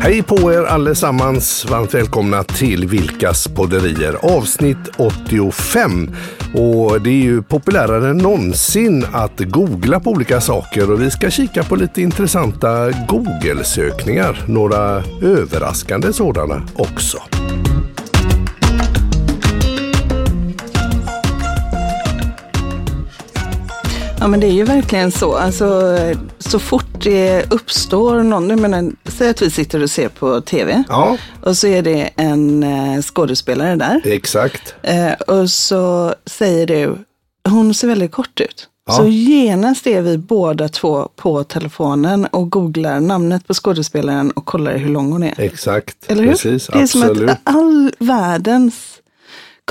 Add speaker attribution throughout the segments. Speaker 1: Hej på er allesammans! Varmt välkomna till Vilkas podderier avsnitt 85. Och det är ju populärare än någonsin att googla på olika saker och vi ska kika på lite intressanta Google-sökningar. Några överraskande sådana också.
Speaker 2: Ja men det är ju verkligen så. Alltså, så fort det uppstår någon, jag menar, säg att vi sitter och ser på tv
Speaker 1: Ja,
Speaker 2: och så är det en eh, skådespelare där
Speaker 1: exakt.
Speaker 2: eh, och så säger du, hon ser väldigt kort ut.
Speaker 1: Ja.
Speaker 2: Så genast är vi båda två på telefonen och googlar namnet på skådespelaren och kollar hur lång hon är.
Speaker 1: Exakt.
Speaker 2: Eller hur?
Speaker 1: Precis,
Speaker 2: det är som
Speaker 1: absolut.
Speaker 2: att all världens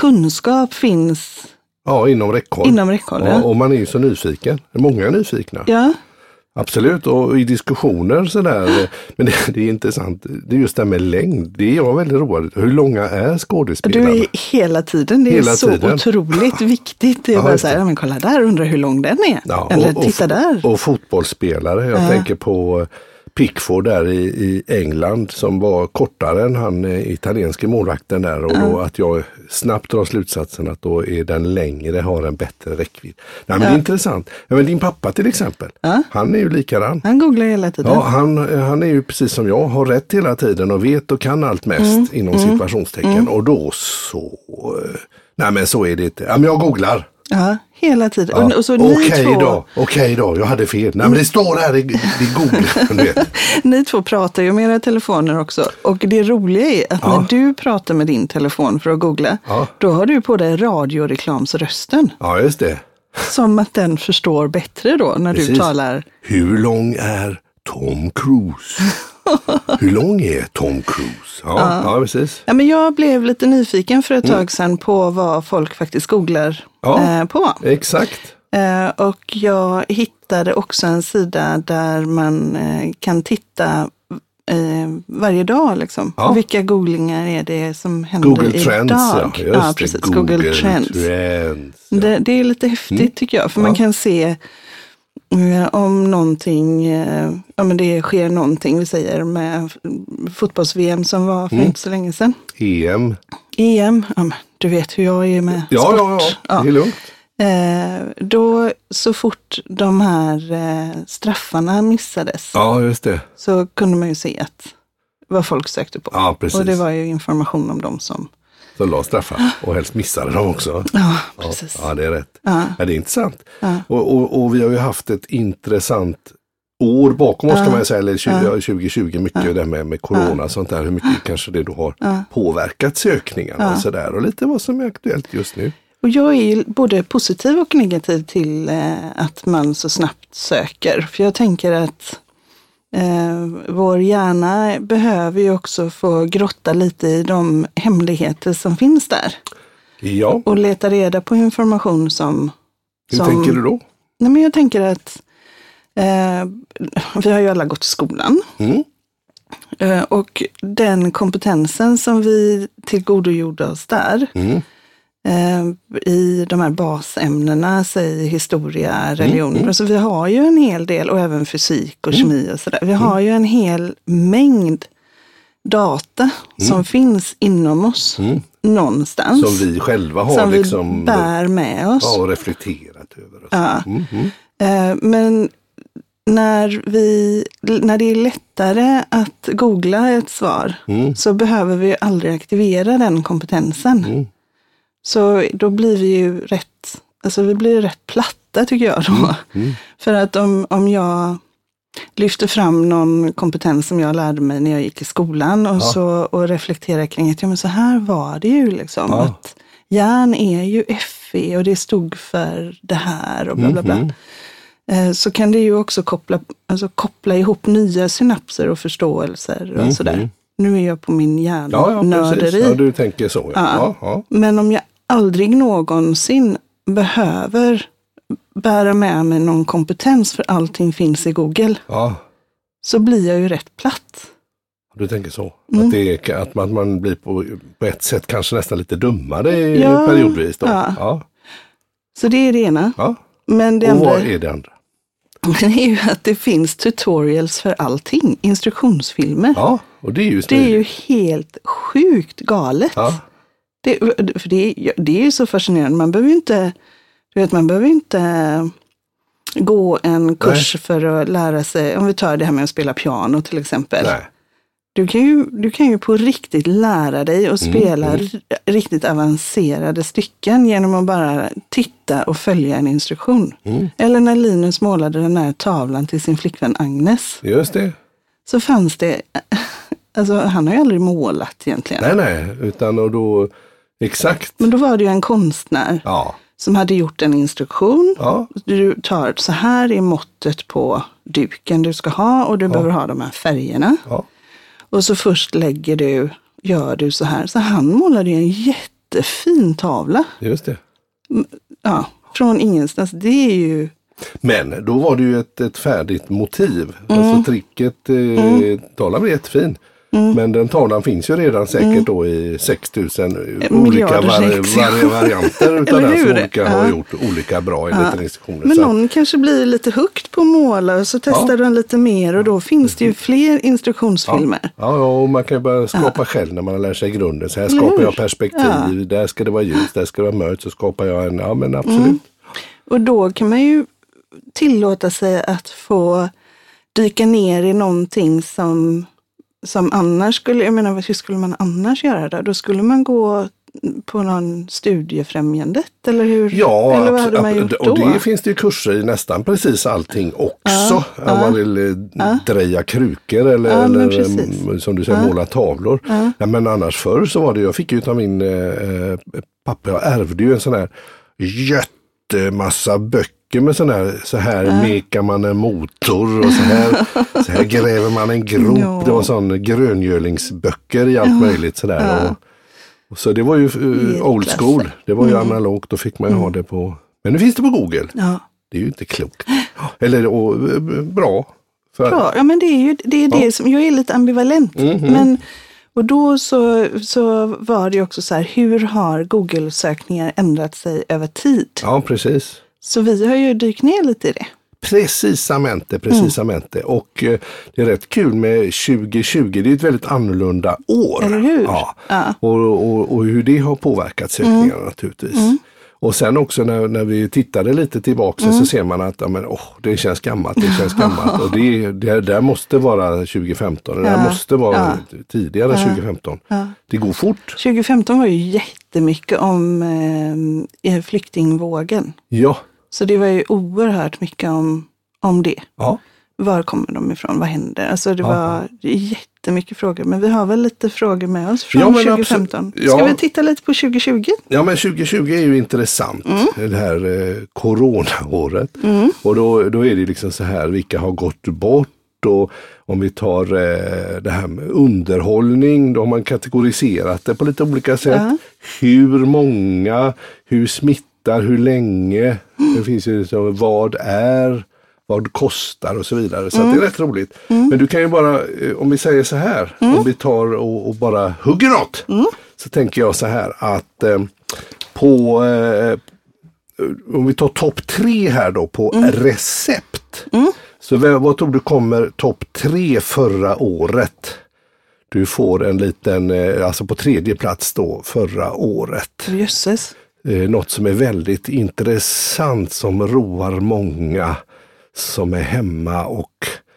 Speaker 2: kunskap finns
Speaker 1: Ja, inom räckhåll.
Speaker 2: inom räckhåll.
Speaker 1: Ja,
Speaker 2: Ja.
Speaker 1: och man är ju så nyfiken. Många är nyfikna.
Speaker 2: ja.
Speaker 1: Absolut, och i diskussioner sådär. Men det, det är intressant, det är just det här med längd. Det är jag väldigt road Hur långa är skådespelarna?
Speaker 2: Du är hela tiden, det
Speaker 1: Hela
Speaker 2: är så
Speaker 1: tiden.
Speaker 2: otroligt viktigt. Det är
Speaker 1: Ja,
Speaker 2: bara
Speaker 1: just
Speaker 2: så här,
Speaker 1: det.
Speaker 2: "Ja, men kolla där, undrar hur lång den är.
Speaker 1: Ja,
Speaker 2: Eller titta där.
Speaker 1: Och fotbollsspelare. Jag
Speaker 2: Ja.
Speaker 1: tänker på Pickford där i, i England som var kortare än han eh, italienske målvakten där. Och då att jag snabbt drar slutsatsen att då är den längre, har en bättre räckvidd. Nej, men Det är intressant. Ja, men din pappa till exempel, han är ju likadan.
Speaker 2: Han googlar hela tiden.
Speaker 1: Ja, han, han är ju precis som jag, har rätt hela tiden och vet och kan allt mest
Speaker 2: Mm,
Speaker 1: inom situationstecken. Och då så... eh, Nej men så är det inte. Ja, men jag googlar.
Speaker 2: Ja, hela tiden.
Speaker 1: Ja.
Speaker 2: Och, och så ni
Speaker 1: Okej
Speaker 2: två,
Speaker 1: då, okej då, jag hade fel. Nej men det står här i, i Google. du vet.
Speaker 2: Ni två pratar ju med era telefoner också. Och det roliga är att
Speaker 1: Ja.
Speaker 2: när du pratar med din telefon för att googla,
Speaker 1: Ja.
Speaker 2: då har du på dig radioreklamsrösten.
Speaker 1: Ja just det.
Speaker 2: Som att den förstår bättre då när du
Speaker 1: Precis.
Speaker 2: talar.
Speaker 1: Hur lång är Tom Cruise? Hur lång är Tom Cruise? Ja, ja. precis.
Speaker 2: Ja, men jag blev lite nyfiken för ett tag sedan på vad folk faktiskt googlar
Speaker 1: Mm. Ja.
Speaker 2: eh, på.
Speaker 1: Exakt.
Speaker 2: Eh, och jag hittade också en sida där man eh, kan titta eh, varje dag. Liksom.
Speaker 1: Ja.
Speaker 2: Vilka googlingar är det som händer
Speaker 1: Google
Speaker 2: idag?
Speaker 1: Trends. Ja, just
Speaker 2: ja
Speaker 1: det.
Speaker 2: precis. Google, Trends. Mm.
Speaker 1: Trends. Mm.
Speaker 2: Det, det är lite häftigt tycker jag, för man kan se eh, om någonting, eh, ja men det sker någonting, vi säger med f- fotbolls-VM som var
Speaker 1: Mm.
Speaker 2: för inte så länge sedan.
Speaker 1: EM.
Speaker 2: EM, ja, men du vet hur jag är med
Speaker 1: Ja,
Speaker 2: sport.
Speaker 1: ja, ja, det är lugnt.
Speaker 2: Eh, då så fort de här eh, straffarna missades
Speaker 1: Ja, just det.
Speaker 2: så kunde man ju se att vad folk sökte på.
Speaker 1: Ja, precis.
Speaker 2: Och det var ju information om dem som,
Speaker 1: Som la straffar och helst missade dem också.
Speaker 2: ja precis.
Speaker 1: Ja, det är rätt. Ja. det är intressant.
Speaker 2: Ja.
Speaker 1: Och, och, och vi har ju haft ett intressant år bakom oss kan man ju säga, eller 20, ja, 2020, mycket det här med, med corona och sånt där, hur mycket kanske det då har påverkat sökningarna och sådär och lite vad som är aktuellt just nu.
Speaker 2: Och jag är ju både positiv och negativ till eh, att man så snabbt söker. För jag tänker att eh, vår hjärna behöver ju också få grotta lite i de hemligheter som finns där.
Speaker 1: Ja,
Speaker 2: Och leta reda på information som
Speaker 1: hur
Speaker 2: som-
Speaker 1: tänker du då?
Speaker 2: Nej, men jag tänker att eh, vi har ju alla gått i skolan.
Speaker 1: Mm.
Speaker 2: Eh, och den kompetensen som vi tillgodogjorde oss där
Speaker 1: Mm.
Speaker 2: eh, i de här basämnena, säg
Speaker 1: Mm,
Speaker 2: historia, religion. Alltså, vi har ju en hel del, och även fysik
Speaker 1: Mm.
Speaker 2: och kemi och sådär. Vi har ju en hel mängd data som finns inom oss någonstans.
Speaker 1: Mm. Som vi själva har
Speaker 2: som vi
Speaker 1: liksom
Speaker 2: bär med oss.
Speaker 1: ja, och reflekterat över. Och så.
Speaker 2: Ja.
Speaker 1: Mm, mm.
Speaker 2: Eh, Men när, vi, när det är lättare att googla ett svar
Speaker 1: Mm.
Speaker 2: så behöver vi ju aldrig aktivera den kompetensen.
Speaker 1: Mm.
Speaker 2: Så då blir vi ju rätt, alltså vi blir ju rätt platta tycker jag då.
Speaker 1: Mm.
Speaker 2: För att om, om jag lyfter fram någon kompetens som jag lärde mig när jag gick i skolan och, så, och reflekterar kring att ja, men så här var det ju liksom.
Speaker 1: Ja.
Speaker 2: Att järn är ju FE och det stod för det här och bla bla
Speaker 1: Mhm.
Speaker 2: bla. Eh, Så kan det ju också koppla, alltså koppla ihop nya synapser och förståelser och sådär. Nu är jag på min
Speaker 1: Mhm. Ja, ja,
Speaker 2: hjärnnörderi.
Speaker 1: precis. Ja, du tänker så. Ja. Ja.
Speaker 2: Ja.
Speaker 1: Ja,
Speaker 2: Men om jag aldrig någonsin behöver bära med mig någon kompetens för allting finns i Google,
Speaker 1: ja.
Speaker 2: så blir jag ju rätt platt.
Speaker 1: Du tänker så?
Speaker 2: Mm.
Speaker 1: Att, det är, att man, man blir på, på ett sätt kanske nästan lite dummare i-
Speaker 2: Ja,
Speaker 1: periodvis? Då.
Speaker 2: ja.
Speaker 1: Ja,
Speaker 2: Så det är det ena.
Speaker 1: ja.
Speaker 2: Men det
Speaker 1: Och
Speaker 2: andra
Speaker 1: vad är det andra?
Speaker 2: det är ju att det finns tutorials för allting, instruktionsfilmer.
Speaker 1: Ja, Och det är ju
Speaker 2: Det är ju
Speaker 1: smidigt.
Speaker 2: helt sjukt galet.
Speaker 1: Ja.
Speaker 2: Det, för det, är- det är ju så fascinerande. Man behöver ju inte, du vet, man behöver ju inte gå en kurs för att lära sig, om vi tar det här med att spela piano till exempel.
Speaker 1: Nej.
Speaker 2: Du kan, ju, du kan ju på riktigt lära dig att
Speaker 1: Mm,
Speaker 2: spela r- riktigt avancerade stycken genom att bara titta och följa en instruktion.
Speaker 1: Mm.
Speaker 2: Eller när Linus målade den här tavlan till sin flickvän Agnes,
Speaker 1: Just det.
Speaker 2: så fanns det, alltså han har ju aldrig målat
Speaker 1: Nej,
Speaker 2: egentligen.
Speaker 1: nej. Utan och då, exakt.
Speaker 2: Men då var det ju en konstnär
Speaker 1: Ja.
Speaker 2: som hade gjort en instruktion.
Speaker 1: Ja.
Speaker 2: Du tar, så här är måttet på duken du ska ha och du behöver ha de här färgerna.
Speaker 1: ja.
Speaker 2: Och så först lägger du, gör du så här. Så han målade ju en jättefin tavla.
Speaker 1: Just det.
Speaker 2: Ja, från ingenstans. Det är ju,
Speaker 1: Men då var det ju ett, ett färdigt motiv.
Speaker 2: Mm.
Speaker 1: Alltså tricket, eh, tavlan blir jättefin.
Speaker 2: Mm.
Speaker 1: Men den tavlan finns ju redan säkert då i 6000 olika
Speaker 2: Eh, miljarder
Speaker 1: var,
Speaker 2: sex, ja.
Speaker 1: var, varianter utav
Speaker 2: Eller
Speaker 1: den som
Speaker 2: hur?
Speaker 1: olika har
Speaker 2: Ja.
Speaker 1: gjort olika bra enligt instruktioner.
Speaker 2: men
Speaker 1: Så
Speaker 2: någon kanske blir lite högt på att måla och så testar du den lite mer och då finns det ju fler instruktionsfilmer.
Speaker 1: att- Ja, ja, och man kan ju börja skapa själv när man har lärt sig grunden. Så här
Speaker 2: Eller
Speaker 1: skapar
Speaker 2: hur?
Speaker 1: jag perspektiv, där ska det vara ljus, där ska det vara mörkt. Så skapar jag en, ja men absolut.
Speaker 2: Och då kan man ju tillåta sig att få dyka ner i någonting som, som annars skulle, jag menar vad- hur skulle man annars göra då? Då skulle man gå på någon studiefrämjandet eller hur?
Speaker 1: Ja,
Speaker 2: eller vad
Speaker 1: abs-
Speaker 2: hade man
Speaker 1: ab-
Speaker 2: gjort då?
Speaker 1: och det finns det ju kurser i nästan precis allting också. om man vill eh, dreja krukor eller,
Speaker 2: Ja, men
Speaker 1: eller
Speaker 2: precis.
Speaker 1: mm, som du säger måla tavlor. Ja, men annars förr så var det, jag fick ju av min eh, eh, pappa, jag ärvde ju en sån här jättemassa böcker med sån här, så här mekar man en motor och så här, så här gräver man en grop.
Speaker 2: Ja.
Speaker 1: Det var sån gröngölingsböcker i allt möjligt sådär. Och, och så det var ju eh,
Speaker 2: Helt
Speaker 1: old
Speaker 2: klasse.
Speaker 1: school. Det var ju analogt, då fick man ju ha det på... Men nu finns det på Google.
Speaker 2: Mm. Ja.
Speaker 1: Det är ju inte klokt. Eller och, eh, bra. För,
Speaker 2: Bra, ja men det är ju det, är det som, jag är lite ambivalent.
Speaker 1: Mhm.
Speaker 2: Men, och då så, så var det ju också så här, hur har Google-sökningar ändrat sig över tid?
Speaker 1: Ja, precis.
Speaker 2: Så vi har ju dykt ner lite i det.
Speaker 1: Precisamente,
Speaker 2: Mm.
Speaker 1: precisamente. Och eh, det är rätt kul med 2020. Det är ett väldigt annorlunda år.
Speaker 2: Eller hur?
Speaker 1: Ja.
Speaker 2: Ja. Mm.
Speaker 1: Och, och, och hur det har påverkat sökningarna naturligtvis. Och sen också när, när vi tittade lite tillbaka
Speaker 2: Mm.
Speaker 1: så ser man att ja, men, åh, det känns gammalt, det känns gammalt. och det, det där måste vara 2015, det där måste vara tidigare 2015. Det går fort.
Speaker 2: 2015 var ju jättemycket om eh, flyktingvågen.
Speaker 1: Ja.
Speaker 2: Så det var ju oerhört mycket om, om det.
Speaker 1: ja.
Speaker 2: Var kommer de ifrån? Vad händer? Alltså det var jättemycket frågor. Men vi har väl lite frågor med oss från
Speaker 1: Ja, men
Speaker 2: 2015.
Speaker 1: absolut.
Speaker 2: Ska
Speaker 1: Ja.
Speaker 2: vi titta lite på 2020?
Speaker 1: Ja men 2020 är ju intressant, det här eh, coronaåret. Och då, då är det liksom så här, vilka har gått bort? Och om vi tar eh, det här med underhållning, då har man kategoriserat det på lite olika sätt. Hur många, hur smittar, hur länge, det finns ju liksom, vad är, vad kostar och så vidare. Så att det är rätt roligt. Men du kan ju bara, eh, om vi säger så här, om vi tar och, och bara hugger något. Så tänker jag så här att eh, på, eh, om vi tar topp tre här då på recept. Så vem, vad tror du kommer topp tre förra året? Du får en liten, eh, alltså på tredje plats då förra året.
Speaker 2: Jösses.
Speaker 1: Eh, något som är väldigt intressant som roar många som är hemma och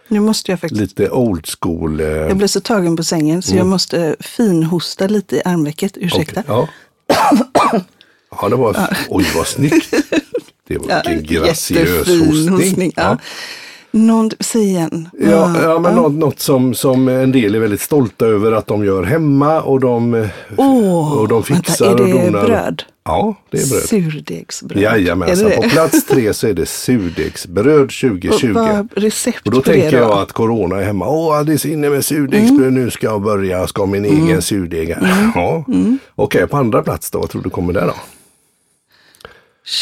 Speaker 2: Nu måste jag faktiskt...
Speaker 1: lite old school. eh,
Speaker 2: Jag blev så tagen på sängen så jag måste finhosta lite i armvecket. Ursäkta.
Speaker 1: Okej, Ja. ja, det var... Oj, vad snyggt. Det var vilken graciös
Speaker 2: jättefin
Speaker 1: hostning.
Speaker 2: ja.
Speaker 1: Ja.
Speaker 2: Någon, säg igen.
Speaker 1: Ja, ja, men något, något som, som en del är väldigt stolta över att de gör hemma och de, eh,
Speaker 2: Åh,
Speaker 1: och de fixar
Speaker 2: vänta, är
Speaker 1: och
Speaker 2: det
Speaker 1: donar.
Speaker 2: bröd?
Speaker 1: Ja, det är bröd.
Speaker 2: Surdegsbröd.
Speaker 1: Jajamensan,
Speaker 2: Är det
Speaker 1: på
Speaker 2: det?
Speaker 1: plats tre så är det surdegsbröd 2020.
Speaker 2: Och Vad recept
Speaker 1: Och då
Speaker 2: på det
Speaker 1: tänker
Speaker 2: då?
Speaker 1: jag att corona är hemma. Åh, det är inne med surdegsbröd. Nu ska jag börja. Jag ska ha min egen surdeg här. Ja. Okej, på andra plats då. Vad tror du kommer där då?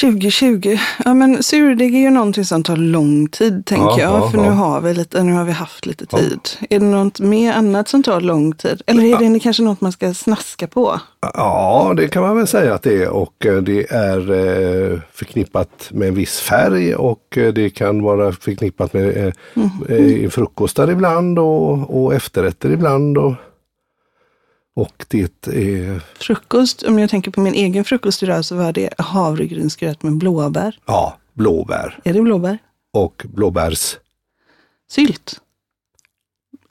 Speaker 2: 2020, ja men surdeg är ju någonting som tar lång tid tänker
Speaker 1: Ja,
Speaker 2: jag,
Speaker 1: ja,
Speaker 2: för
Speaker 1: ja.
Speaker 2: nu, har vi lite, nu har vi haft lite tid. Är det något mer annat som tar lång tid? Eller är det kanske något man ska snaska på?
Speaker 1: Ja, det kan man väl säga att det är och eh, det är eh, förknippat med en viss färg och eh, det kan vara förknippat med eh, eh, frukostar ibland och, och efterrätter ibland. Och, och det är,
Speaker 2: Frukost, om jag tänker på min egen frukost idag så var det havregrynsgröt med blåbär.
Speaker 1: ja, blåbär
Speaker 2: Är det blåbär?
Speaker 1: och blåbärs...
Speaker 2: Sylt.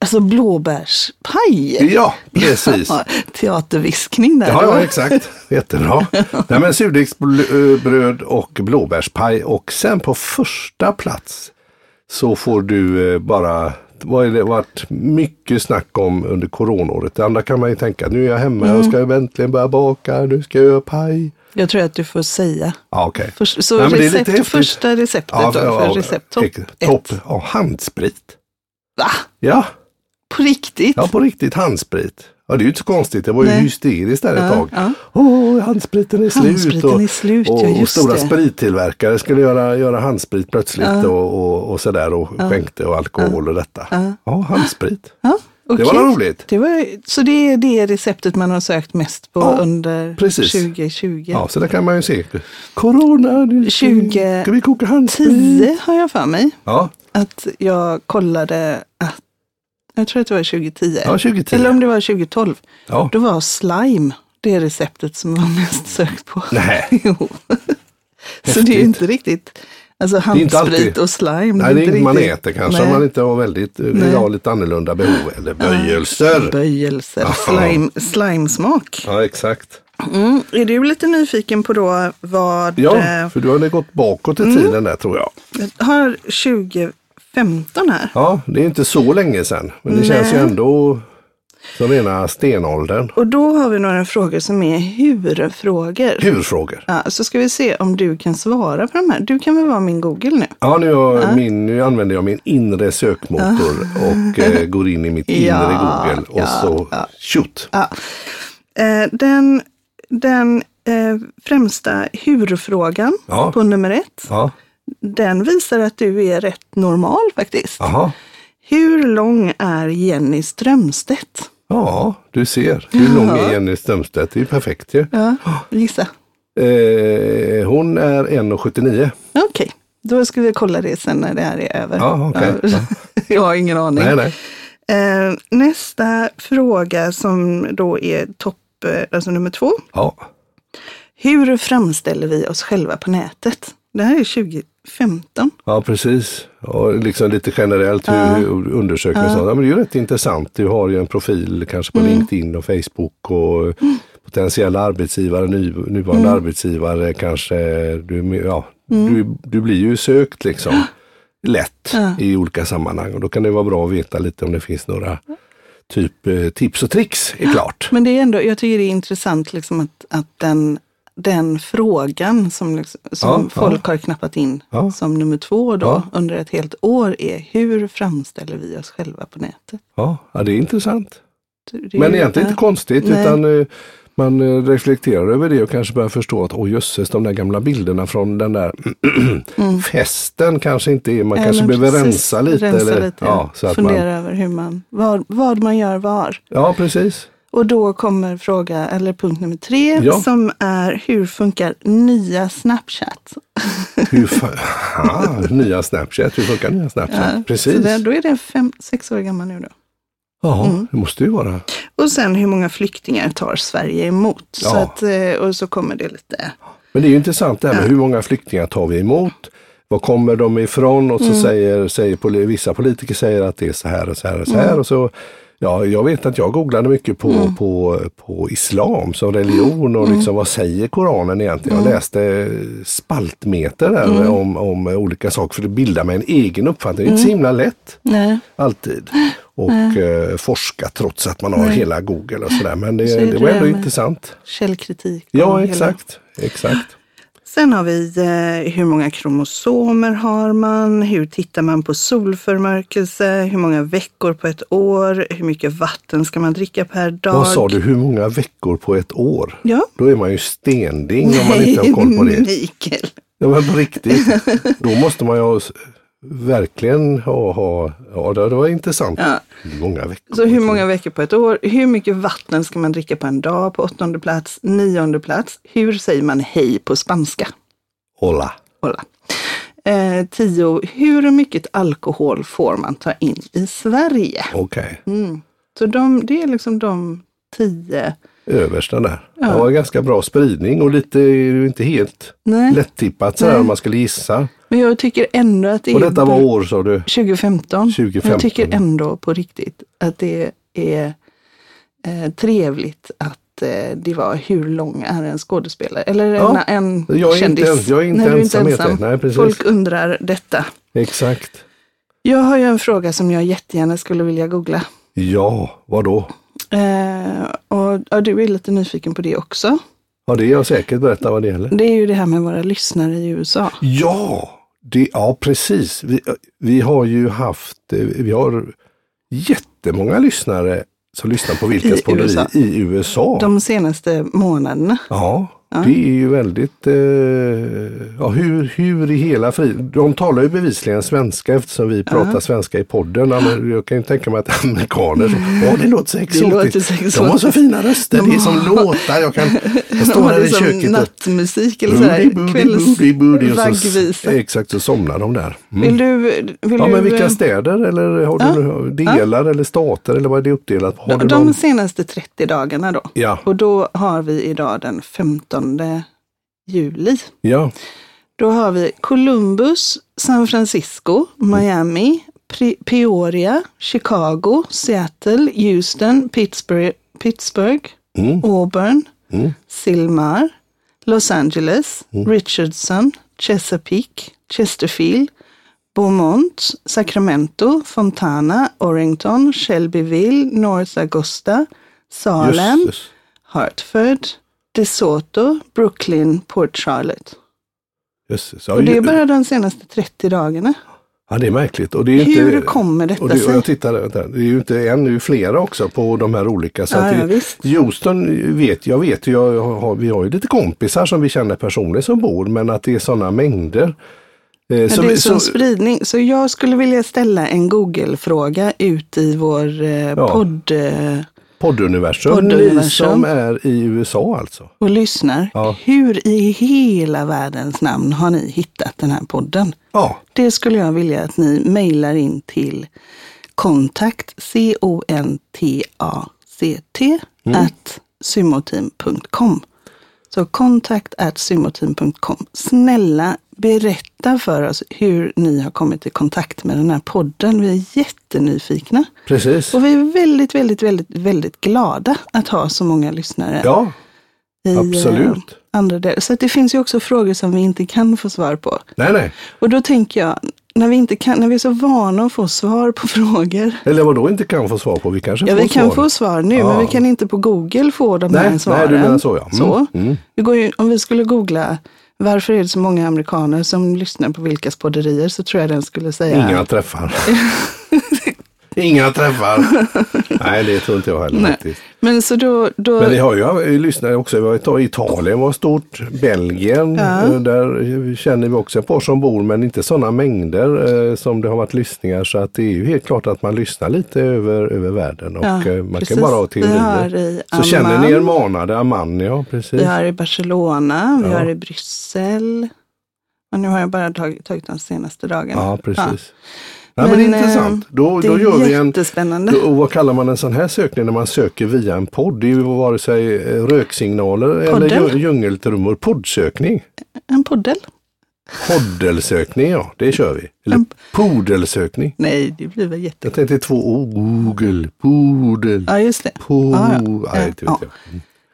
Speaker 2: Alltså blåbärspaj.
Speaker 1: Ja, precis.
Speaker 2: Eh, Ja, Teaterviskning där.
Speaker 1: Ja,
Speaker 2: Det var-
Speaker 1: ja, exakt. Jättebra. Nej, men surdegsbröd och blåbärspaj och sen på första plats så får du eh, bara vad är det varit mycket snack om under coronaåret. Det andra kan man ju tänka, nu är jag hemma,
Speaker 2: Mm.
Speaker 1: jag ska äntligen börja baka, nu ska jag göra paj.
Speaker 2: Jag tror att du får säga.
Speaker 1: Ja, okej.
Speaker 2: Först- så
Speaker 1: Nej, men det är
Speaker 2: recept,
Speaker 1: lite häftigt.
Speaker 2: första receptet då, för recept topp
Speaker 1: ex-
Speaker 2: ett.
Speaker 1: topp. Ja, handsprit.
Speaker 2: Va?
Speaker 1: Ja,
Speaker 2: På riktigt?
Speaker 1: ja, på riktigt handsprit. Ja, det är ju inte så konstigt, det var ju
Speaker 2: Nej.
Speaker 1: hysteriskt där ett tag.
Speaker 2: ja.
Speaker 1: Åh, handspriten är slut.
Speaker 2: Handspriten är slut,
Speaker 1: och,
Speaker 2: ja,
Speaker 1: och
Speaker 2: just
Speaker 1: stora
Speaker 2: det.
Speaker 1: sprittillverkare skulle göra, göra handsprit plötsligt och, och, och sådär och skänkte och alkohol och detta. Ja, handsprit.
Speaker 2: Ja,
Speaker 1: Det
Speaker 2: okej.
Speaker 1: var roligt.
Speaker 2: Det var, så det är det receptet man har sökt mest på
Speaker 1: Ja,
Speaker 2: under
Speaker 1: precis.
Speaker 2: 2020?
Speaker 1: Ja, så där kan man ju se. Corona, nu ska, vi,
Speaker 2: 20
Speaker 1: ska vi koka handsprit.
Speaker 2: 10 har jag för mig
Speaker 1: Ja,
Speaker 2: att jag kollade att, jag tror att det var 2010.
Speaker 1: ja 2010.
Speaker 2: Eller om det var 2012.
Speaker 1: ja.
Speaker 2: Då var slime det receptet som var mest sökt på.
Speaker 1: Nej.
Speaker 2: Jo. Så det är ju inte riktigt, alltså
Speaker 1: är inte alltid-
Speaker 2: handsprit och slime.
Speaker 1: Nej, det är
Speaker 2: inte
Speaker 1: inget man
Speaker 2: riktigt-
Speaker 1: äter kanske om
Speaker 2: Nej.
Speaker 1: man inte har väldigt, vill ha lite annorlunda behov eller böjelser.
Speaker 2: Böjelser,
Speaker 1: Ja.
Speaker 2: slime, slimesmak.
Speaker 1: Ja, exakt.
Speaker 2: Mm. Är du lite nyfiken på då vad
Speaker 1: Ja,
Speaker 2: eh, Mm.
Speaker 1: för du har ju gått bakåt i tiden där tror jag.
Speaker 2: Jag har 2015 här.
Speaker 1: Ja, det är inte så länge sedan, men det känns ju ändå som rena stenåldern.
Speaker 2: Och då har vi några frågor som är hur-frågor.
Speaker 1: Hur-frågor.
Speaker 2: Ja, så ska vi se om du kan svara på de här. Du kan väl vara min Google nu?
Speaker 1: Ja, nu, har min, nu använder jag min inre sökmotor och eh, går in i mitt inre
Speaker 2: Ja,
Speaker 1: Google och
Speaker 2: ja,
Speaker 1: så shoot.
Speaker 2: Ja. Eh, Den, den eh, främsta hur-frågan
Speaker 1: Ja.
Speaker 2: på nummer ett,
Speaker 1: Ja,
Speaker 2: den visar att du är rätt normal faktiskt.
Speaker 1: aha.
Speaker 2: Hur lång är Jenny Strömstedt?
Speaker 1: Ja, du ser. Hur lång är Jenny Strömstedt? Det är ju perfekt ju.
Speaker 2: Ja, gissa.
Speaker 1: Eh, hon är 1,79.
Speaker 2: Okej, då ska vi kolla det sen när det här är över.
Speaker 1: Ja, okej.
Speaker 2: Ja. Jag har ingen aning.
Speaker 1: Nej, nej.
Speaker 2: Eh, nästa fråga som då är topp, eh, alltså nummer två.
Speaker 1: Ja.
Speaker 2: Hur framställer vi oss själva på nätet? Det här är 2015.
Speaker 1: Ja, precis. Och liksom lite generellt hur, hur undersökningar och sånt. Ja, men det är ju rätt intressant. Du har ju en profil kanske på LinkedIn och Facebook och potentiella arbetsgivare, ny, nuvarande arbetsgivare kanske. Du, ja, du, du blir ju sökt liksom lätt i olika sammanhang och då kan det vara bra att veta lite om det finns några typ eh, tips och tricks är klart.
Speaker 2: Men det är ändå, jag tycker det är intressant liksom att, att den, den frågan som, liksom, som
Speaker 1: Ja,
Speaker 2: folk har knappat in
Speaker 1: Ja.
Speaker 2: som nummer två då under ett helt år är hur framställer vi oss själva på nätet?
Speaker 1: Ja, ja det är intressant.
Speaker 2: Det är
Speaker 1: Men
Speaker 2: ju-
Speaker 1: egentligen inte konstigt
Speaker 2: Nej.
Speaker 1: utan eh, man eh, reflekterar över det och kanske börjar förstå att åh jösses, de där gamla bilderna från den där festen kanske inte är, man
Speaker 2: Mm. Ja,
Speaker 1: kanske
Speaker 2: men
Speaker 1: behöver
Speaker 2: precis.
Speaker 1: rensa lite.
Speaker 2: rensa
Speaker 1: eller,
Speaker 2: lite
Speaker 1: ja, så att
Speaker 2: fundera
Speaker 1: man,
Speaker 2: över hur man, vad, vad man gör var.
Speaker 1: ja, precis.
Speaker 2: Och då kommer fråga, eller punkt nummer tre,
Speaker 1: Ja.
Speaker 2: som är hur funkar nya Snapchat?
Speaker 1: Hur fa- ah, nya Snapchat, hur funkar nya Snapchat?
Speaker 2: Så
Speaker 1: precis.
Speaker 2: det, då är Mm. den fem, sex år gammal nu då.
Speaker 1: Ja, det måste ju vara.
Speaker 2: Och sen hur många flyktingar tar Sverige emot? Så
Speaker 1: Ja.
Speaker 2: att, eh, och så kommer det lite.
Speaker 1: Men det är ju intressant det här med hur många flyktingar tar vi emot? Var kommer de ifrån? Och så säger, säger poli- vissa politiker säger att det är så här och så här och så här. Och så, ja, jag vet att jag googlade mycket på, på, på islam som religion och liksom, vad säger Koranen egentligen? Jag läste spaltmeter där om, om olika saker för att bilda mig en egen uppfattning. Det är inte så himla lätt
Speaker 2: Nej.
Speaker 1: alltid och eh, forska trots att man har hela Google och sådär. Men det,
Speaker 2: Så är
Speaker 1: det
Speaker 2: det
Speaker 1: var
Speaker 2: det
Speaker 1: ändå
Speaker 2: med-
Speaker 1: intressant.
Speaker 2: Källkritik. och
Speaker 1: Ja,
Speaker 2: hela-
Speaker 1: exakt. exakt.
Speaker 2: Sen har vi eh, hur många kromosomer har man? Hur tittar man på solförmörkelse? Hur många veckor på ett år? Hur mycket vatten ska man dricka per dag?
Speaker 1: Vad sa du, hur många veckor på ett år?
Speaker 2: Ja.
Speaker 1: Då är man ju stending om man inte har koll på det.
Speaker 2: Mikael.
Speaker 1: Ja, men på riktigt. Då måste man ju ha- verkligen ha, ha ja det det var intressant.
Speaker 2: Ja.
Speaker 1: Hur många veckor?
Speaker 2: Så hur många veckor på ett år? Hur mycket vatten ska man dricka på en dag? På åttonde plats, nionde plats. Hur säger man hej på spanska?
Speaker 1: Hola.
Speaker 2: Kolla. Eh, tio, hur mycket alkohol får man ta in i Sverige?
Speaker 1: Okej,
Speaker 2: Mm. Så de, det är liksom de tio.
Speaker 1: översta där. Det var ganska bra spridning och lite, inte helt
Speaker 2: Nej,
Speaker 1: lättippat sådär
Speaker 2: Nej.
Speaker 1: om man skulle gissa.
Speaker 2: men jag tycker ändå att det är
Speaker 1: Och detta var år sa du?
Speaker 2: 2015.
Speaker 1: 2015.
Speaker 2: Jag tycker ändå på riktigt att det är eh, trevligt att eh, det var hur lång är en skådespelare eller
Speaker 1: Ja,
Speaker 2: en, en
Speaker 1: jag är
Speaker 2: kändis.
Speaker 1: inte ens- jag är inte
Speaker 2: Nej, du
Speaker 1: ensam, heter det. Nej, precis.
Speaker 2: Folk undrar detta.
Speaker 1: Exakt.
Speaker 2: Jag har ju en fråga som jag jättegärna skulle vilja googla.
Speaker 1: Ja, vadå?
Speaker 2: Eh, och, ja, du är lite nyfiken på det också.
Speaker 1: Ja, det är jag säkert berätta vad det gäller.
Speaker 2: Det är ju det här med våra lyssnare i USA.
Speaker 1: Ja, det, ja precis. Vi, vi har ju haft, eh, vi har jättemånga lyssnare som lyssnar på Vilkas
Speaker 2: I
Speaker 1: podderi
Speaker 2: USA.
Speaker 1: i USA.
Speaker 2: De senaste månaderna.
Speaker 1: Ja, det är ju väldigt, eh, ja hur, hur i hela friden, de talar ju bevisligen svenska eftersom vi pratar svenska i podden. Ja, men Jag kan ju tänka mig att amerikaner, så, ja det låter så
Speaker 2: låter
Speaker 1: exotiskt.
Speaker 2: så
Speaker 1: De har så
Speaker 2: exotiskt."
Speaker 1: fina röster, det är som låtar. Jag, kan, jag står här i
Speaker 2: som
Speaker 1: köket och
Speaker 2: nattmusik eller
Speaker 1: Booty,
Speaker 2: sådär.
Speaker 1: booty, booty, booty. Och så,
Speaker 2: Kvällsvaggvisa.
Speaker 1: exakt, så somnar de där. Mm.
Speaker 2: Vill du... Vill
Speaker 1: Ja,
Speaker 2: du
Speaker 1: men vilka städer eller har du nu- delar eller stater eller vad är det uppdelat? Har du
Speaker 2: eh, de
Speaker 1: någon?
Speaker 2: senaste 30 dagarna då.
Speaker 1: Ja,
Speaker 2: Och då har vi idag den 15 juli.
Speaker 1: ja,
Speaker 2: Då har vi Columbus, San Francisco, Miami, Pri- Peoria, Chicago, Seattle, Houston, Pittsburgh, Pittsburgh
Speaker 1: Mm.
Speaker 2: Auburn,
Speaker 1: Mm.
Speaker 2: Silmar, Los Angeles, Richardson, Chesapeake, Chesterfield, Beaumont, Sacramento, Fontana, Orrington, Shelbyville, North Augusta, Salem,
Speaker 1: jösses.
Speaker 2: Hartford, DeSoto, Brooklyn, Port Charlotte.
Speaker 1: jösses. Ja,
Speaker 2: Och det är
Speaker 1: ju-
Speaker 2: bara de senaste 30 dagarna.
Speaker 1: ja, det är märkligt. Och det är
Speaker 2: Hur
Speaker 1: inte,
Speaker 2: kommer
Speaker 1: och
Speaker 2: detta
Speaker 1: det, och
Speaker 2: sig?
Speaker 1: jag tittar, vänta, det är ju inte en, det är ju flera också på de här olika. Så
Speaker 2: Ja,
Speaker 1: att
Speaker 2: ja,
Speaker 1: det,
Speaker 2: visst.
Speaker 1: Houston vet jag, vet ju, jag har, vi har ju lite kompisar som vi känner personligen som bor, men att det är sådana mängder. Eh,
Speaker 2: Ja, det är sån spridning. Så jag skulle vilja ställa en Google-fråga ut i vår eh, podd eh,
Speaker 1: Podduniversum,
Speaker 2: Podduniversum.
Speaker 1: ni som är i USA alltså.
Speaker 2: och lyssnar.
Speaker 1: Ja.
Speaker 2: Hur i hela världens namn har ni hittat den här podden?
Speaker 1: Ja,
Speaker 2: Det skulle jag vilja att ni mejlar in till kontakt, C-O-N-T-A-C-T,
Speaker 1: Mm.
Speaker 2: at symoteam.com. Så kontakt at symoteam.com. Snälla berätta för oss hur ni har kommit i kontakt med den här podden. Vi är jättenyfikna.
Speaker 1: precis.
Speaker 2: Och vi är väldigt, väldigt, väldigt, väldigt glada att ha så många lyssnare
Speaker 1: Ja,
Speaker 2: i eh,
Speaker 1: absolut.
Speaker 2: andra delar. Så att det finns ju också frågor som vi inte kan få svar på.
Speaker 1: nej nej.
Speaker 2: Och då tänker jag, när vi, inte kan, när vi är så vana att få svar på frågor.
Speaker 1: Eller vad då inte kan få svar på, vi kanske
Speaker 2: Ja,
Speaker 1: får
Speaker 2: vi kan
Speaker 1: svar.
Speaker 2: få svar nu,
Speaker 1: Ja.
Speaker 2: men vi kan inte på Google få de
Speaker 1: Nej,
Speaker 2: här
Speaker 1: nej,
Speaker 2: svaren.
Speaker 1: du menar så, ja. Mm, mm.
Speaker 2: Det går ju, om vi skulle googla, varför är det så många amerikaner som lyssnar på Vilkas podderier, så tror jag den skulle säga.
Speaker 1: Inga träffar. Inga träffar. nej, det tror inte jag heller
Speaker 2: Nej.
Speaker 1: faktiskt.
Speaker 2: Men så då, då
Speaker 1: Men vi har ju lyssnare också, vi har ju tagit- Italien var stort, Belgien, eh, där känner vi också ett par som bor men inte sådana mängder eh, som det har varit lyssningar så att det är ju helt klart att man lyssnar lite över, över världen och
Speaker 2: Ja,
Speaker 1: eh, man
Speaker 2: precis.
Speaker 1: kan bara ha
Speaker 2: Vi har
Speaker 1: teorier.
Speaker 2: i
Speaker 1: Så känner ni er
Speaker 2: Amman.
Speaker 1: manade, Amman, ja precis.
Speaker 2: vi har i Barcelona, vi
Speaker 1: Ja.
Speaker 2: har i Bryssel. Och nu har jag bara tagit, tagit de senaste dagarna.
Speaker 1: Ja,
Speaker 2: Ja.
Speaker 1: precis. Nej, men,
Speaker 2: Men, eh,
Speaker 1: det är intressant. Då,
Speaker 2: Det
Speaker 1: då gör vi
Speaker 2: är
Speaker 1: en
Speaker 2: jättespännande.
Speaker 1: då- och vad kallar man en sån här sökning när man söker via en podd? Det är ju vare sig eh, röksignaler eller
Speaker 2: Podden.
Speaker 1: djung- djungeltrummor. Poddsökning.
Speaker 2: En poddel?
Speaker 1: Poddelsökning, ja, det kör vi. Eller
Speaker 2: En-
Speaker 1: podelsökning.
Speaker 2: Nej, det blir väl jätte...
Speaker 1: Jag tänkte två ord. Google, podel,
Speaker 2: Ja, just det.
Speaker 1: po...
Speaker 2: Ja, ja.
Speaker 1: Nej, inte vet
Speaker 2: Ja.
Speaker 1: jag.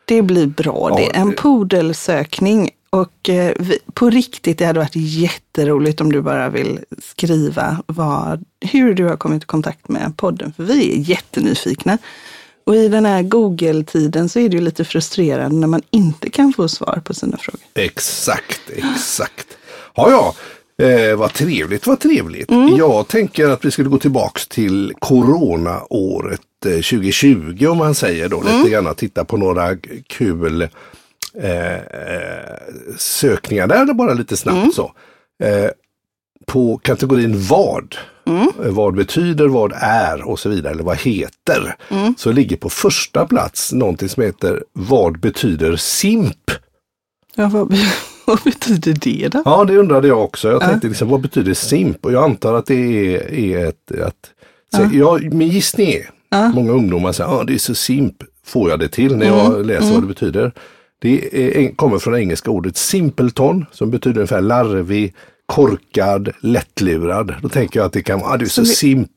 Speaker 2: Det blir bra
Speaker 1: Ja,
Speaker 2: det. En
Speaker 1: det-
Speaker 2: podelsökning. Och eh, vi, på riktigt, det hade varit jätteroligt om du bara vill skriva vad, hur du har kommit i kontakt med podden. För vi är jättenyfikna. Och i den här Google-tiden så är det ju lite frustrerande när man inte kan få svar på sina frågor.
Speaker 1: Exakt, exakt. Ja, ja. Eh, vad trevligt, vad trevligt. Jag tänker att vi skulle gå tillbaks till coronaåret eh, 2020 om man säger då. Lite grann att titta på några g- kul eh, eh, sökningar där, eller bara lite snabbt så. Eh, på kategorin vad. Eh, Vad betyder, vad är och så vidare, eller vad heter. Så ligger på första plats någonting som heter Vad betyder simp?
Speaker 2: Ja, vad, be- vad betyder det då?
Speaker 1: Ja, det undrade jag också. Jag tänkte liksom, vad betyder simp? Och jag antar att det är, är ett... Att, så, jag, min gissning är, många ungdomar säger, ah, det är så simp, får jag det till när jag läser vad det betyder. Det är, en- kommer från det engelska ordet simpleton som betyder ungefär larvig, korkad, lättlurad. Då tänker jag att det kan vara, ah, du är så,
Speaker 2: det-
Speaker 1: simp.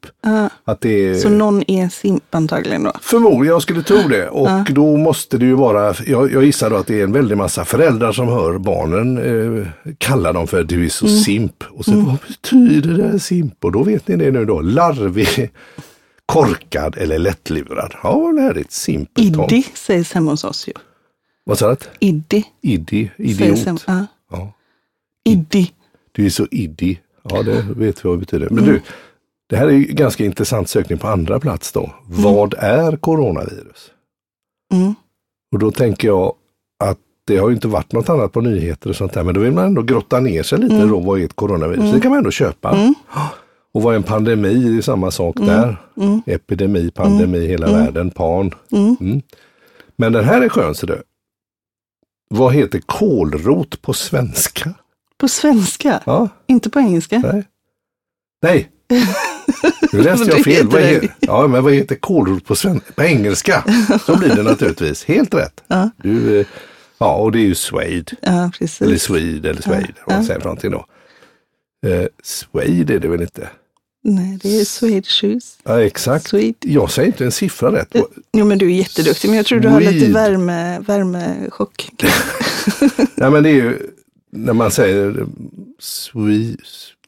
Speaker 1: Att det är,
Speaker 2: Så någon är simp antagligen då?
Speaker 1: Förmodligen, jag skulle tro det. Och då måste det ju vara, jag, jag gissar då att det är en väldig massa föräldrar som hör barnen eh, kalla dem för du är så simp. Och så vad betyder det här simp? Och då vet ni det nu då. Larvig, korkad eller lättlurad. Ja, vad lärigt. Simpelton.
Speaker 2: Iddi sägs hemma hos oss ju.
Speaker 1: Vad sa du?
Speaker 2: Iddi.
Speaker 1: Iddi,
Speaker 2: sägs hemma-
Speaker 1: idiot.
Speaker 2: Ja.
Speaker 1: Ja.
Speaker 2: Iddi.
Speaker 1: Du är så iddi. Ja, det vet vi vad det betyder. Men du, det här är ju ganska intressant sökning på andra plats då. Vad är coronavirus?
Speaker 2: Mm.
Speaker 1: Och då tänker jag att det har ju inte varit något annat på nyheter och sånt där, men då vill man ändå grotta ner sig
Speaker 2: Mm.
Speaker 1: lite då, vad är ett coronavirus? Det kan man ändå köpa. Och vad är en pandemi? Det är ju samma sak
Speaker 2: Mm.
Speaker 1: där. Epidemi, pandemi, hela världen, pan.
Speaker 2: Mm.
Speaker 1: Mm. Men den här är skön, ser du. Vad heter kålrot på svenska?
Speaker 2: På svenska,
Speaker 1: Ja,
Speaker 2: inte på engelska.
Speaker 1: nej. Nej! Nu läste jag
Speaker 2: Det
Speaker 1: fel.
Speaker 2: heter
Speaker 1: Vad
Speaker 2: det.
Speaker 1: he- ja, men vad heter kålrot på, sven- på engelska? Så blir det naturligtvis. Helt rätt.
Speaker 2: Ja.
Speaker 1: Du, eh, ja, och det är ju suede.
Speaker 2: Ja, precis.
Speaker 1: Eller Swede eller Swede, vad man säger för någonting då. Eh, Swede är det väl inte?
Speaker 2: Nej, det är Swede Shoes.
Speaker 1: Ja, exakt.
Speaker 2: Swede.
Speaker 1: Jag säger inte en siffra rätt.
Speaker 2: Jo, men du är jätteduktig, men jag tror du har lite
Speaker 1: Swede.
Speaker 2: värme, värmechock.
Speaker 1: Nej, men det är ju när man säger eh, Swede,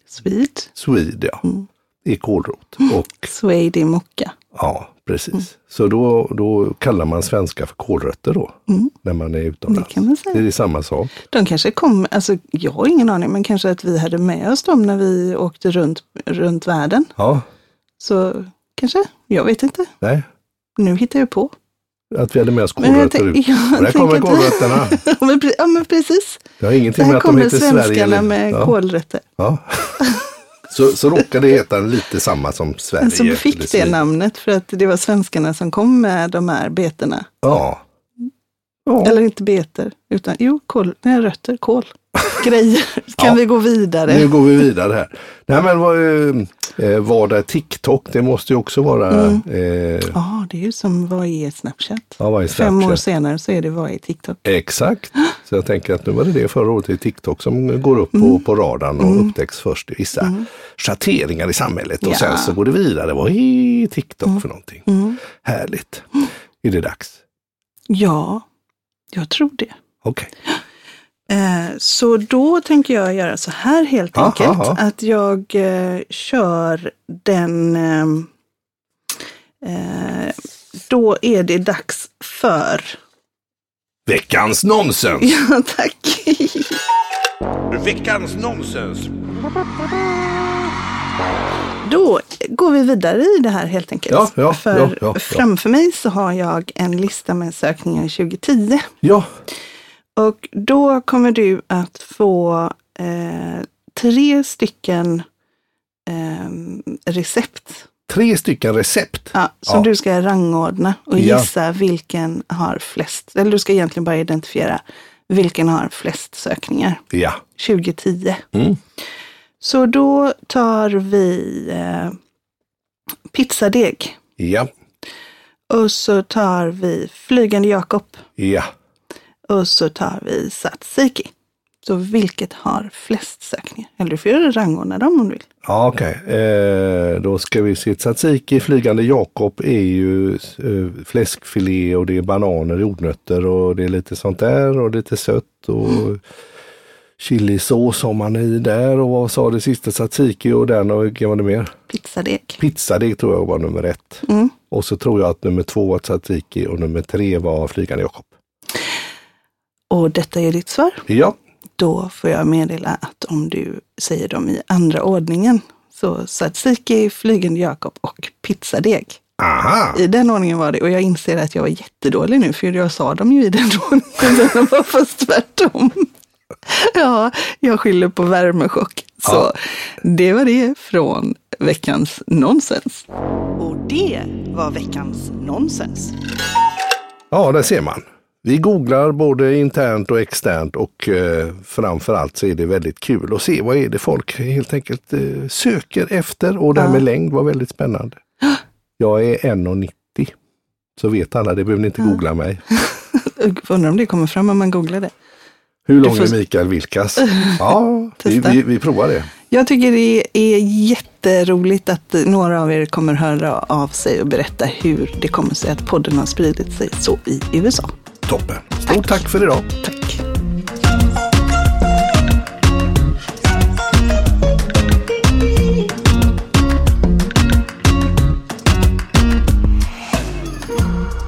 Speaker 2: Swede.
Speaker 1: Swede ja.
Speaker 2: Mm.
Speaker 1: I kålrot. Och
Speaker 2: Suede är mocka.
Speaker 1: ja, precis.
Speaker 2: Mm.
Speaker 1: Så då, då kallar man svenska för kålrötter då.
Speaker 2: Mm.
Speaker 1: När man är utomlands.
Speaker 2: Det kan man säga.
Speaker 1: Det är samma sak.
Speaker 2: De kanske kom, alltså jag har ingen aning, men kanske att vi hade med oss dem när vi åkte runt, runt världen.
Speaker 1: Ja,
Speaker 2: Så kanske, jag vet inte.
Speaker 1: nej.
Speaker 2: Nu hittar jag på.
Speaker 1: Att vi hade med oss
Speaker 2: Men jag
Speaker 1: kålrötter
Speaker 2: tänk-
Speaker 1: ut.
Speaker 2: jag
Speaker 1: Och Där kommer
Speaker 2: tänker att-
Speaker 1: kålrötterna.
Speaker 2: Ja, men, pre- ja, men precis.
Speaker 1: Det har ingenting med
Speaker 2: Där
Speaker 1: att de
Speaker 2: kommer
Speaker 1: heter Sverige.
Speaker 2: svenskarna
Speaker 1: eller-
Speaker 2: med
Speaker 1: Ja.
Speaker 2: kålrötter.
Speaker 1: Ja. Så, så råkar det heta lite samma som Sverige.
Speaker 2: Den som
Speaker 1: eller
Speaker 2: fick
Speaker 1: så-
Speaker 2: det namnet för att det var svenskarna som kom med de här betena.
Speaker 1: Ja. ja.
Speaker 2: Eller inte beter, utan jo, kål, nej, rötter, kål. Grejer. Kan vi gå vidare?
Speaker 1: Nu går vi vidare här. Nej men vad, eh, eh, vad är TikTok? Det måste ju också vara...
Speaker 2: Mm.
Speaker 1: Eh,
Speaker 2: Ja, det är ju som vad är Snapchat?
Speaker 1: ja, vad är
Speaker 2: Fem
Speaker 1: Snapchat?
Speaker 2: år senare så är det vad är TikTok?
Speaker 1: Exakt. Så jag tänker att nu var det det förra året i TikTok som går upp på,
Speaker 2: Mm.
Speaker 1: på radarn och upptäcks först i vissa schatteringar i samhället. Och
Speaker 2: Ja. Mm.
Speaker 1: sen så går det vidare. Vad är TikTok för någonting? Härligt. Är det dags?
Speaker 2: Ja, jag tror det.
Speaker 1: Okej.
Speaker 2: Eh, Så då tänker jag göra så här helt
Speaker 1: Ja,
Speaker 2: enkelt.
Speaker 1: ja, ja.
Speaker 2: Att jag eh, kör den... ehm, Eh, då är det dags för...
Speaker 1: Veckans nonsens!
Speaker 2: Ja, tack.
Speaker 1: Veckans nonsens!
Speaker 2: Då går vi vidare i det här helt enkelt.
Speaker 1: Ja, ja,
Speaker 2: för
Speaker 1: ja, ja, ja.
Speaker 2: framför mig så har jag en lista med sökningar 2010.
Speaker 1: Ja,
Speaker 2: Och då kommer du att få eh, tre stycken ehm, recept
Speaker 1: tre stycken recept.
Speaker 2: ja, som
Speaker 1: Ja.
Speaker 2: du ska rangordna och
Speaker 1: Ja.
Speaker 2: gissa vilken har flest. Eller du ska egentligen bara identifiera vilken har flest sökningar.
Speaker 1: Ja,
Speaker 2: 2010.
Speaker 1: Mm.
Speaker 2: Så då tar vi eh, pizzadeg
Speaker 1: ja,
Speaker 2: och så tar vi flygande Jakob
Speaker 1: ja.
Speaker 2: och så tar vi tzatziki. Så vilket har flest sökningar? Eller du får ju rangordna dem om du vill.
Speaker 1: Ja, okej. Eh, då ska vi se. Tzatziki, flygande Jakob är ju eh, fläskfilé och det är bananer, jordnötter och det är lite sånt där och lite sött och chilisås har man i där och vad sa det sista, tzatziki och den och vilken var det mer?
Speaker 2: Pizzadeg.
Speaker 1: Pizzadeg tror jag var nummer ett.
Speaker 2: Mm.
Speaker 1: Och så tror jag att nummer två var tzatziki och nummer tre var Flygande Jakob.
Speaker 2: Och detta är ditt svar.
Speaker 1: Ja,
Speaker 2: Då får jag meddela att om du säger dem i andra ordningen, så tzatziki, flygande Jakob och pizzadeg.
Speaker 1: aha!
Speaker 2: I den ordningen var det. Och jag inser att jag var jättedålig nu, för jag sa dem ju i den ordningen. Det var fast tvärtom. Ja, jag skyller på värmechock. Så
Speaker 1: Ja.
Speaker 2: det var det från veckans nonsens. Och det var veckans nonsens.
Speaker 1: Ja, där ser man. Vi googlar både internt och externt och eh, framförallt så är det väldigt kul att se vad är det folk helt enkelt eh, söker efter och det här med längd var väldigt spännande. Jag är 1,90 så vet alla, det behöver ni inte googla mig.
Speaker 2: Undrar om det kommer fram om man googlar det.
Speaker 1: Hur lång
Speaker 2: Du får-
Speaker 1: är Mikael Vilkas? Ja, vi,
Speaker 2: Testa.
Speaker 1: vi, vi provar det.
Speaker 2: Jag tycker det är jätteroligt att några av er kommer höra av sig och berätta hur det kommer sig att podden har spridit sig så i USA.
Speaker 1: Toppen. Stort tack för idag.
Speaker 2: Tack!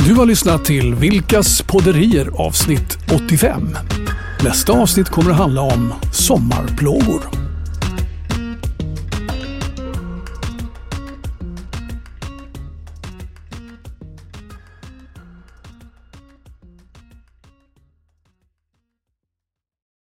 Speaker 3: Du har lyssnat till Vilkas podderier avsnitt 85. Nästa avsnitt kommer att handla om sommarplågor.